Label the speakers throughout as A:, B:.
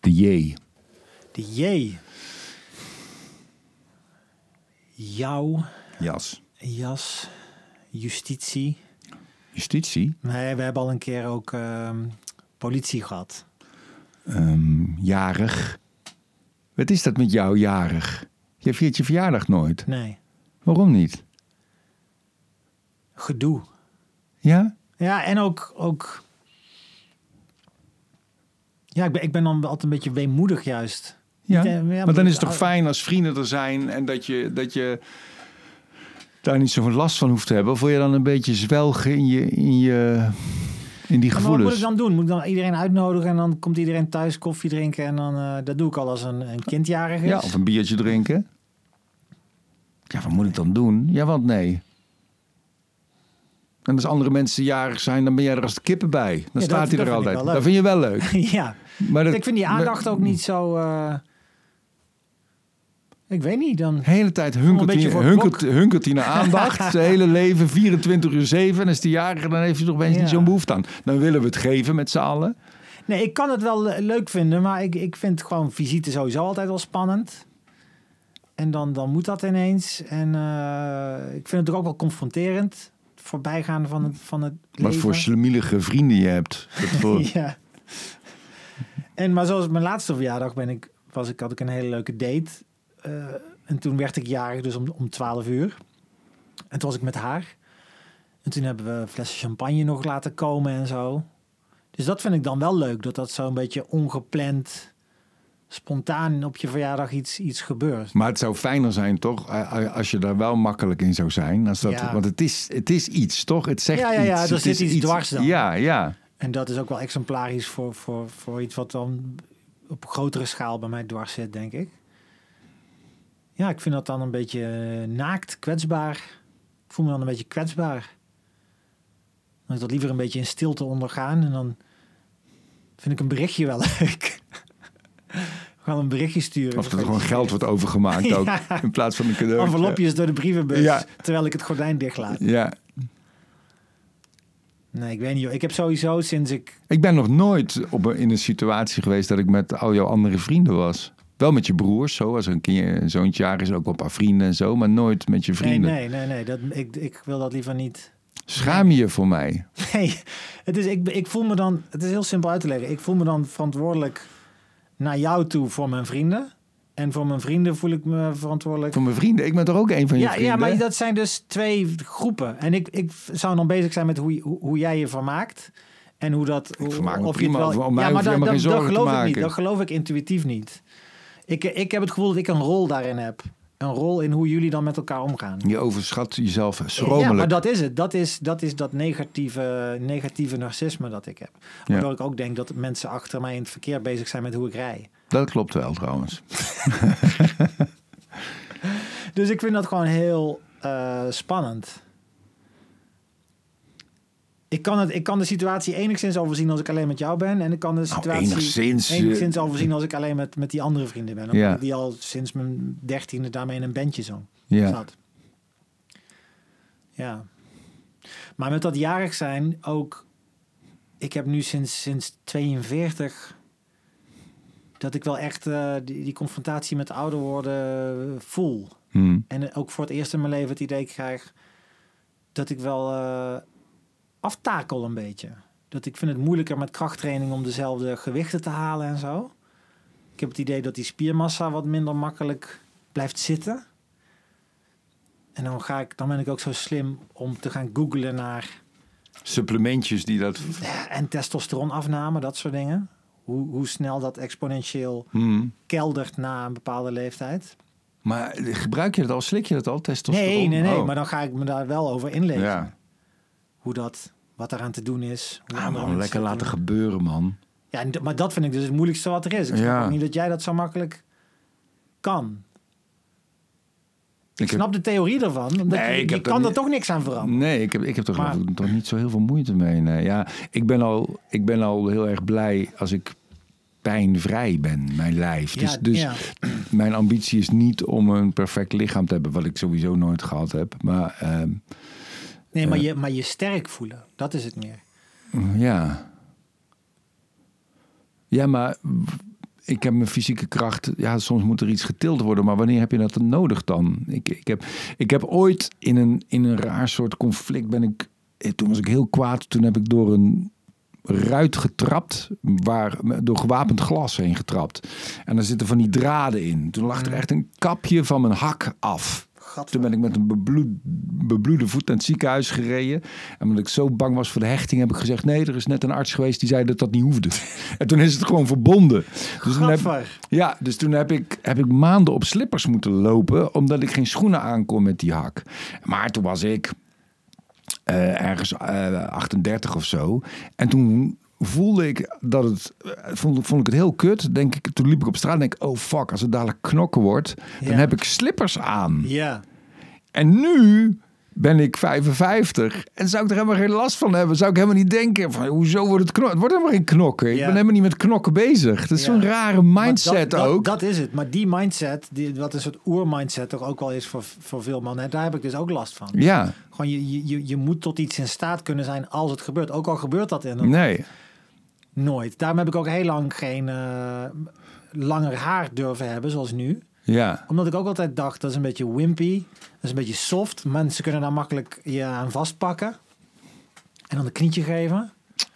A: J.
B: De J. Jouw
A: Jas.
B: jas. Justitie.
A: Justitie.
B: Nee, we hebben al een keer ook ehm, politie gehad.
A: Ehm, jarig. Wat is dat met jou, jarig? Je viert je verjaardag nooit.
B: Nee.
A: Waarom niet?
B: Gedoe.
A: Ja?
B: Ja, en ook. ook... Ja, ik ben, ik ben dan altijd een beetje weemoedig, juist.
A: Ja.
B: Niet, eh, ja,
A: maar dan
B: maar-
A: is het toch fijn als vrienden er zijn en dat je, dat je daar niet zoveel last van hoeft te hebben. Voel je dan een beetje zwelgen in, je, in, je, in die
B: Ja, maar wat moet ik
A: gevoelens?
B: dan doen? Moet ik dan iedereen uitnodigen en dan komt iedereen thuis koffie drinken? En dan, eh, dat doe ik al als een, een kindjarige. is.
A: Ja, of een biertje drinken. Ja, wat moet ik dan doen? Ja, want nee. En als andere mensen jarig zijn, dan ben jij er als de kippen bij. Dan
B: dat-
A: staat hij er
B: dat vind ik
A: altijd.
B: wel leuk.
A: Dat vind je wel leuk.
B: ja.
A: Maar dat,
B: ik vind die aandacht ook niet zo... eh, Ik weet niet, dan...
A: De hele tijd
B: Een
A: hunkert
B: beetje
A: hij,
B: voor
A: hunkert, hunkert hij naar aandacht. Zijn hele leven, 24 uur 7. En is die jarige, dan heeft hij toch opeens
B: Ja.
A: niet zo'n behoefte aan. Dan willen we het geven met z'n allen.
B: Nee, ik kan het wel eh, leuk vinden, maar ik, ik vind gewoon visite sowieso altijd wel spannend. En dan, dan moet dat ineens. En eh, ik vind het er ook wel confronterend. Het voorbijgaan van het, van het leven.
A: Wat voor slemielige vrienden je hebt. Dat voor-
B: Ja. En maar zoals mijn laatste verjaardag ben ik, was ik, had ik een hele leuke date. Eh, en toen werd ik jarig, dus om, om 12 uur. En toen was ik met haar. En toen hebben we flessen champagne nog laten komen en zo. Dus dat vind ik dan wel leuk, dat dat zo'n beetje ongepland, spontaan op je verjaardag iets, iets gebeurt.
A: Maar het zou fijner zijn, toch? eh, Als je daar wel makkelijk in zou zijn. Als dat,
B: Ja.
A: Want het is, het is iets, toch? Het zegt
B: Ja, ja, ja,
A: iets.
B: er
A: Het is
B: zit iets dwars dan.
A: Ja, ja.
B: En dat is ook wel exemplarisch voor, voor, voor iets wat dan op grotere schaal bij mij dwars zit, denk ik. Ja, ik vind dat dan een beetje eh, naakt, kwetsbaar. Ik voel me dan een beetje kwetsbaar. Dan ik dat liever een beetje in stilte ondergaan. En dan vind ik een berichtje wel leuk. Gewoon een berichtje sturen.
A: Of dat er gewoon geld wordt overgemaakt ook.
B: Ja.
A: In plaats van een cadeau.
B: Envelopjes door de brievenbus,
A: Ja.
B: terwijl ik het gordijn dicht laat.
A: Ja.
B: Nee, ik weet niet. Joh. Ik heb sowieso sinds ik...
A: Ik ben nog nooit op een- in een situatie geweest dat ik met al jouw andere vrienden was. Wel met je broers, zo. Als er een, kind, een zoontje jaar is, ook wel een paar vrienden en zo. Maar nooit met je vrienden.
B: Nee, nee, nee. nee dat, ik, ik wil dat liever niet...
A: Schaam je je voor mij?
B: Nee, het is, ik, ik voel me dan, het is heel simpel uit te leggen. Ik voel me dan verantwoordelijk naar jou toe voor mijn vrienden. En voor mijn vrienden voel ik me verantwoordelijk.
A: Voor mijn vrienden? Ik ben toch ook een van je
B: Ja,
A: vrienden?
B: ja, maar dat zijn dus twee groepen. En ik, ik zou dan bezig zijn met hoe, je- hoe, hoe jij je vermaakt. En hoe dat. hoe-
A: vermaak me
B: of je het
A: prima.
B: wel-
A: Over- om mij
B: ja,
A: hoef
B: maar
A: je
B: dat,
A: helemaal geen
B: dat, dat
A: zorgen te
B: geloof ik niet.
A: maken.
B: Dat geloof ik intuïtief niet. Ik, ik heb het gevoel dat ik een rol daarin heb. Een rol in hoe jullie dan met elkaar omgaan.
A: Je overschat jezelf
B: Ja,
A: schromelijk.
B: maar dat is het. Dat is dat, is dat negatieve, negatieve narcisme dat ik heb.
A: Ja.
B: Waardoor ik ook denk dat mensen achter mij in het verkeer bezig zijn met hoe ik rij.
A: dat klopt wel trouwens.
B: Dus ik vind dat gewoon heel eh, spannend. Ik kan, het, ik kan de situatie enigszins overzien als ik alleen met jou ben. En ik kan de situatie
A: Nou, enigszins, eh.
B: enigszins overzien als ik alleen met, met die andere vrienden ben. Omdat
A: Ja.
B: ik die al sinds mijn dertiende daarmee in een bandje zong.
A: Ja.
B: zat. Ja. Maar met dat jarig zijn ook... Ik heb nu sinds, sinds 42... dat ik wel echt eh, die, die confrontatie met ouder worden voel.
A: Hm.
B: En ook voor het eerst in mijn leven het idee krijg... dat ik wel eh, aftakel een beetje. Dat ik vind het moeilijker met krachttraining... om dezelfde gewichten te halen en zo. Ik heb het idee dat die spiermassa wat minder makkelijk blijft zitten... En dan, ga ik, dan ben ik ook zo slim om te gaan googlen naar eh,
A: Supplementjes die dat...
B: en testosteronafname, dat soort dingen. Hoe, hoe snel dat exponentieel
A: Hm.
B: keldert na een bepaalde leeftijd.
A: Maar eh, gebruik je dat al? Slik je dat al? Testosteron?
B: Nee, nee, nee.
A: Oh.
B: Maar dan ga ik me daar wel over inlezen.
A: Ja.
B: Hoe dat, wat eraan te doen is. hoe
A: Ah,
B: andere
A: man,
B: mensen
A: lekker
B: het eh,
A: laten
B: doen.
A: gebeuren, man.
B: Ja, en d- maar dat vind ik dus het moeilijkste wat er is. Ik snap
A: Ja.
B: ook niet dat jij dat zo makkelijk kan.
A: Ik,
B: Ik snap de theorie ervan. Omdat
A: Nee,
B: je,
A: ik
B: je
A: heb daar
B: kan er
A: niet-
B: toch niks aan veranderen.
A: Nee, ik heb, ik heb er
B: Maar-
A: geloof ik toch niet zo heel veel moeite mee. nee. Ja, ik, ben al, ik ben al heel erg blij als ik pijnvrij ben, mijn lijf. Dus,
B: Ja,
A: dus
B: ja.
A: mijn ambitie is niet om een perfect lichaam te hebben, wat ik sowieso nooit gehad heb. Maar ehm,
B: Nee, maar, je, maar je sterk voelen. Dat is het meer.
A: ja. Ja, maar ik heb mijn fysieke kracht. Ja, soms moet er iets getild worden, maar wanneer heb je dat dan nodig dan? Ik, ik, heb, ik heb ooit in een, in een raar soort conflict ben ik. eh, Toen was ik heel kwaad. Toen heb ik door een ruit getrapt, waar, door gewapend glas heen getrapt. En daar zitten van die draden in. Toen lag er echt een kapje van mijn hak af. Toen ben ik met een bebloed, bebloede voet naar het ziekenhuis gereden. En omdat ik zo bang was voor de hechting, heb ik gezegd: nee, er is net een arts geweest die zei dat dat niet hoefde. En toen is het gewoon verbonden. Dus toen heb,
B: Gadver.
A: ja, dus toen heb ik, heb ik maanden op slippers moeten lopen, omdat ik geen schoenen aankon met die hak. Maar toen was ik eh, ergens eh, 38 of zo. En toen voelde ik dat het, eh, vond, vond ik het heel kut. Denk ik, toen liep ik op straat en denk ik, oh fuck, als het dadelijk knokken wordt,
B: Ja.
A: dan heb ik slippers aan.
B: Ja.
A: En nu ben ik 55 en zou ik er helemaal geen last van hebben. Zou ik helemaal niet denken van hoezo wordt het knokken? Het wordt helemaal geen knokken. Ik
B: Ja.
A: ben helemaal niet met knokken bezig. Dat is
B: Ja.
A: zo'n rare
B: Maar
A: mindset
B: dat, dat-
A: ook.
B: Dat, is het. Maar die mindset, die, wat een soort oermindset toch ook wel is voor, voor veel mannen. En daar heb ik dus ook last van.
A: Ja,
B: Gewoon je- je, je, je moet tot iets in staat kunnen zijn als het gebeurt. Ook al gebeurt dat in een
A: nee.
B: Nooit. Daarom heb ik ook heel lang geen eh, langer haar durven hebben, zoals nu.
A: Ja,
B: Omdat ik ook altijd dacht, dat is een beetje wimpy. Dat is een beetje soft. Mensen kunnen daar makkelijk je aan vastpakken. En dan een knietje geven.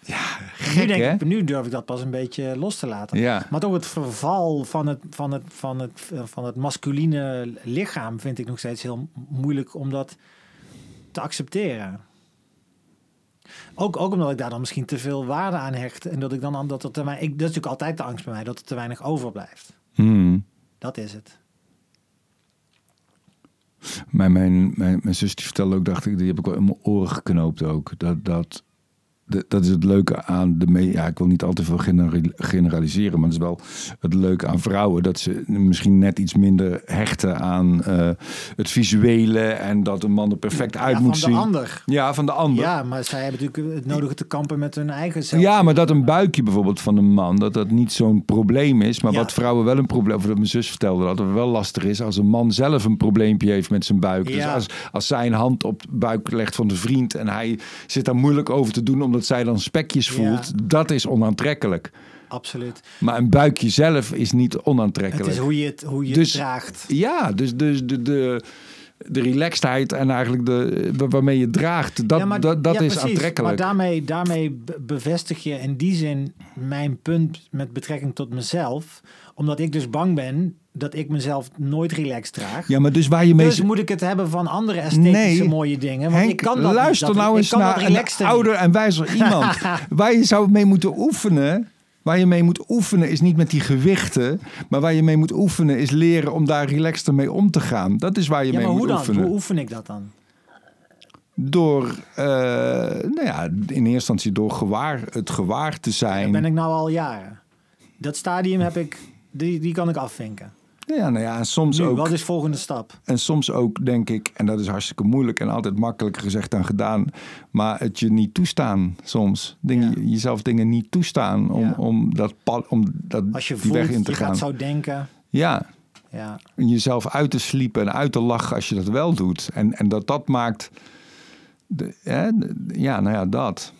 B: nu,
A: gek
B: denk
A: hè?
B: ik, nu durf ik dat pas een beetje los te laten.
A: Ja.
B: Maar toch het verval van het, van, het, van, het, eh, van het masculine lichaam vind ik nog steeds heel moeilijk om dat te accepteren. Ook, ook omdat ik daar dan misschien te veel waarde aan hecht. En dat ik dan aan dat er te weinig. Ik, dat is natuurlijk altijd de angst bij mij, dat er te weinig overblijft.
A: Hmm.
B: Dat is het.
A: Mijn, mijn, mijn, mijn zus die vertelde ook, dacht ik, die heb ik wel in mijn oren geknoopt ook. Dat, dat, dat, dat is het leuke aan de me Ja, ik wil niet altijd veel genera- generaliseren, maar het is wel het leuke aan vrouwen. Dat ze misschien net iets minder hechten aan eh, het visuele en dat een man er perfect uit
B: Ja,
A: moet
B: van
A: zien.
B: de ander.
A: Ja, van de ander. Ja.
B: Ja, maar zij hebben natuurlijk het nodige te kampen met hun eigen zelf.
A: maar dat een buikje bijvoorbeeld van een man, dat dat niet zo'n probleem is. Maar
B: Ja.
A: wat vrouwen wel een probleem, of dat mijn zus vertelde dat, dat het wel lastig is als een man zelf een probleempje heeft met zijn buik. Dus
B: Ja.
A: als, als zij een hand op de buik legt van de vriend en hij zit daar moeilijk over te doen omdat zij dan spekjes
B: Ja.
A: voelt, dat is onaantrekkelijk.
B: Absoluut.
A: Maar een buikje zelf is niet
B: Het
A: onaantrekkelijk.
B: is hoe je het, hoe je
A: Dus-
B: het draagt.
A: Ja, dus, dus de, de, de relaxedheid en eigenlijk de, wa- waarmee je draagt, dat,
B: Ja, maar-
A: dat, dat
B: ja,
A: is
B: precies.
A: aantrekkelijk.
B: Maar daarmee, daarmee be- bevestig je in die zin mijn punt met betrekking tot mezelf. Omdat ik dus bang ben dat ik mezelf nooit relaxed draag.
A: Ja, maar dus waar je mee...
B: Dus moet ik het hebben van andere esthetische
A: Nee,
B: mooie dingen. Want
A: Henk,
B: ik kan dat
A: luister
B: niet, dat-
A: nou
B: ik
A: eens
B: kan dat
A: naar een
B: relaxter niet.
A: ouder en wijzer iemand. waar je zou mee moeten oefenen... Waar je mee moet oefenen is niet met die gewichten, maar waar je mee moet oefenen is leren om daar relaxter mee om te gaan. Dat is waar je
B: Ja,
A: mee
B: maar
A: moet
B: hoe dan?
A: oefenen.
B: Hoe oefen ik dat dan?
A: Door, eh, nou ja, in eerste instantie door gewaar, het gewaar te zijn.
B: Ben ik nou al jaren? Dat stadium heb ik, die, die kan ik afvinken.
A: Ja, nou ja, en soms
B: Nu,
A: ook.
B: wat is volgende stap?
A: En soms ook, denk ik, en dat is hartstikke moeilijk en altijd makkelijker gezegd dan gedaan, maar het je niet toestaan soms. Dingen,
B: Ja.
A: Jezelf dingen niet toestaan om,
B: Ja.
A: om, dat, pad- om dat,
B: Als je
A: die
B: voelt,
A: weg in
B: je
A: te gaan.
B: gaat zo denken.
A: Ja,
B: Ja.
A: en jezelf uit te sliepen en uit te lachen als je dat wel doet. En, en dat dat maakt, de, hè, de- ja, nou ja, dat.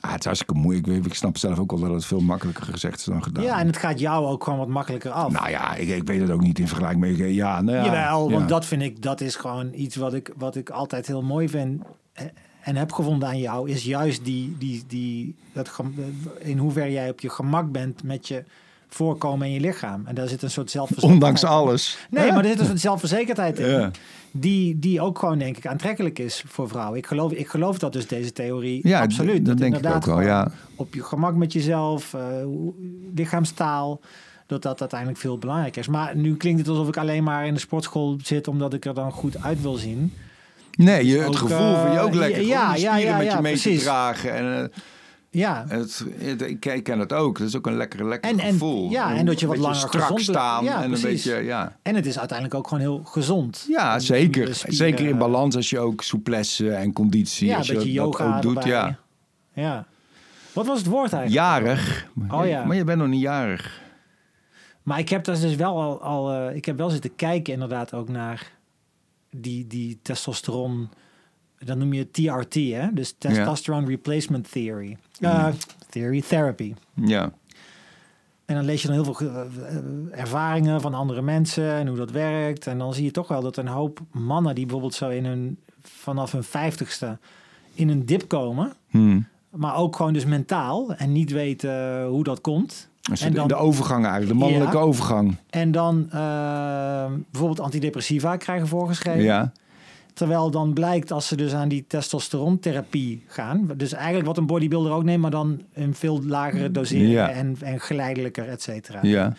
A: Ah, het is hartstikke moeilijk. Ik, weet- ik snap zelf ook wel dat het veel makkelijker gezegd is dan gedaan.
B: ja, en het gaat jou ook gewoon wat makkelijker af.
A: Nou ja, ik, ik weet het ook niet in vergelijking met... Ja, nou ja,
B: Jawel,
A: ja.
B: want dat vind ik, dat is gewoon iets wat ik, wat ik altijd heel mooi vind eh, en heb gevonden aan jou, is juist die, die, die, dat, gem- in hoeverre jij op je gemak bent met je voorkomen en je lichaam. En daar zit een soort zelfverzekerdheid.
A: Ondanks alles.
B: Nee,
A: Hè?
B: maar er zit een soort zelfverzekerdheid in.
A: Ja.
B: Die, die ook gewoon, denk ik, aantrekkelijk is voor vrouwen. Ik geloof, ik geloof dat dus deze theorie.
A: Ja,
B: absoluut.
A: dat denk ik
B: inderdaad
A: ook wel, ja.
B: gewoon Op je gemak met jezelf, eh, hoe- lichaamstaal. Dat dat uiteindelijk veel belangrijker is. Maar nu klinkt het alsof ik alleen maar in de sportschool zit omdat ik er dan goed uit wil zien.
A: Nee, je, het
B: Ook,
A: gevoel
B: eh,
A: vind je ook
B: ja,
A: lekker.
B: ja,
A: Ja,
B: ja,
A: spieren
B: ja,
A: met je
B: ja,
A: mee te
B: precies.
A: dragen. En, eh,
B: Ja,
A: het, het- ik, ik ken het ook. Dat is ook een lekker, lekker
B: En- en-
A: gevoel.
B: ja, en dat je wat
A: Een beetje
B: langer
A: strak
B: gezond bent.
A: staan.
B: Ja,
A: en een
B: precies.
A: beetje, ja.
B: en het is uiteindelijk ook gewoon heel gezond.
A: ja,
B: Om- om
A: zeker.
B: de spieren-
A: zeker in balans als je ook souplesse en conditie.
B: Ja, een
A: als je
B: beetje
A: dat
B: yoga
A: ook doet.
B: erbij.
A: Ja.
B: ja. Wat was het woord eigenlijk?
A: Jarig.
B: Oh, ja.
A: Maar je bent nog niet jarig.
B: Maar ik heb daar dus wel al, al eh, ik heb wel zitten kijken inderdaad ook naar die, die testosteron, dat noem je TRT, hè? Dus testosterone replacement theory. Eh, Theory therapy.
A: Ja.
B: En dan lees je dan heel veel eh, ervaringen van andere mensen en hoe dat werkt. En dan zie je toch wel dat een hoop mannen die bijvoorbeeld zo in hun, vanaf hun vijftigste in een dip komen.
A: Hmm.
B: Maar ook gewoon dus mentaal en niet weten eh, hoe dat komt.
A: Dus
B: En dan-
A: de overgang eigenlijk, de mannelijke
B: Ja.
A: overgang.
B: En dan eh, bijvoorbeeld antidepressiva krijgen voorgeschreven.
A: Ja.
B: Terwijl dan blijkt als ze dus aan die testosterontherapie gaan. Dus eigenlijk wat een bodybuilder ook neemt, maar dan een veel lagere dosering
A: Ja.
B: en, en geleidelijker, et cetera.
A: ja.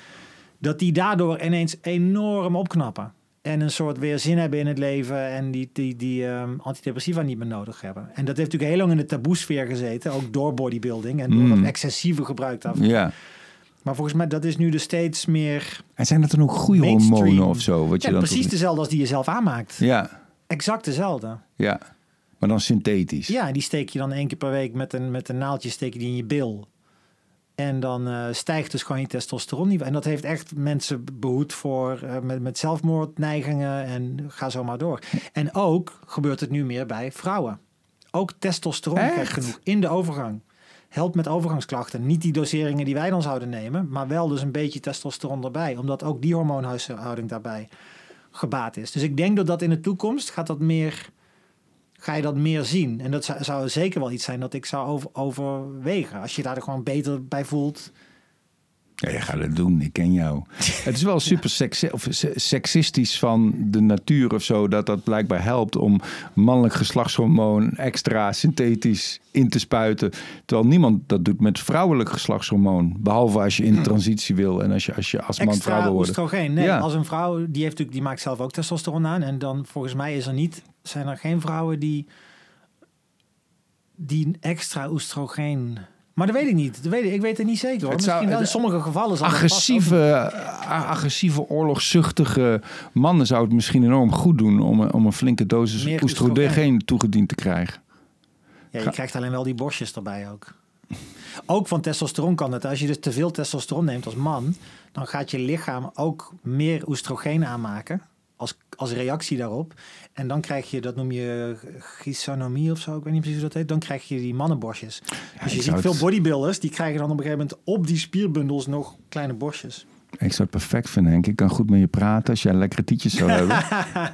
B: Dat die daardoor ineens enorm opknappen. En een soort weer zin hebben in het leven. En die, die, die ehm, antidepressiva niet meer nodig hebben. En dat heeft natuurlijk heel lang in de taboesfeer gezeten. Ook door bodybuilding en door
A: Mm.
B: dat excessieve gebruik daarvan.
A: ja.
B: Maar volgens mij dat is nu dus steeds meer...
A: En zijn dat dan ook goede
B: Mainstream.
A: hormonen of zo? Wat
B: Ja,
A: je dan
B: precies
A: toch-
B: dezelfde als die je zelf aanmaakt.
A: Ja,
B: Exact dezelfde.
A: ja. Maar dan synthetisch.
B: Ja, en die steek je dan één keer per week met een, met een naaldje steek je die in je bil. En dan eh, stijgt dus gewoon je testosteronniveau. En dat heeft echt mensen behoed voor eh, met, met zelfmoordneigingen en ga zo maar door. En ook gebeurt het nu meer bij vrouwen. Ook testosteron krijgt
A: Echt?
B: genoeg in de overgang. Helpt met overgangsklachten. Niet die doseringen die wij dan zouden nemen, maar wel dus een beetje testosteron erbij. Omdat ook die hormoonhuishouding daarbij gebaat is. Dus ik denk dat dat in de toekomst gaat dat meer, ga je dat meer zien. En dat zou, zou zeker wel iets zijn dat ik zou over, overwegen. Als je daar gewoon beter bij voelt.
A: Ja, je gaat het doen, ik ken jou. Het is wel super seks- of se- seksistisch van de natuur of zo... dat dat blijkbaar helpt om mannelijk geslachtshormoon extra synthetisch in te spuiten. Terwijl niemand dat doet met vrouwelijk geslachtshormoon. Behalve als je in transitie wil en als je als, je als man vrouw
B: Hmm. Extra
A: wil worden.
B: oestrogeen. Nee,
A: Ja.
B: als een vrouw, die, heeft natuurlijk, die maakt zelf ook testosteron aan. En dan volgens mij is er niet, zijn er geen vrouwen die, die extra oestrogeen... Maar dat weet ik niet. Dat weet ik, ik weet het niet zeker hoor.
A: Het zou-
B: Misschien wel in
A: het-
B: sommige gevallen. zal dat vast ook
A: Agressieve, a- agressieve, oorlogzuchtige mannen zou het misschien enorm goed doen... om, een- om een flinke dosis
B: Meer
A: oestrogeen
B: oestrogeen.
A: toegediend te krijgen.
B: Ja, je
A: Ga-
B: krijgt alleen wel die borstjes erbij ook. Ook van testosteron kan dat. Als je dus te veel testosteron neemt als man, dan gaat je lichaam ook meer oestrogeen aanmaken. Als, als reactie daarop. En dan krijg je, dat noem je gysonomie of zo, ik weet niet precies hoe dat heet. Dan krijg je die mannenborstjes. dus je
A: ik
B: ziet
A: zou
B: veel
A: het-
B: bodybuilders, die krijgen dan op een gegeven moment op die spierbundels nog kleine borstjes.
A: Ik zou het perfect vinden, Henk. Ik kan goed met je praten als jij lekkere tietjes zou hebben.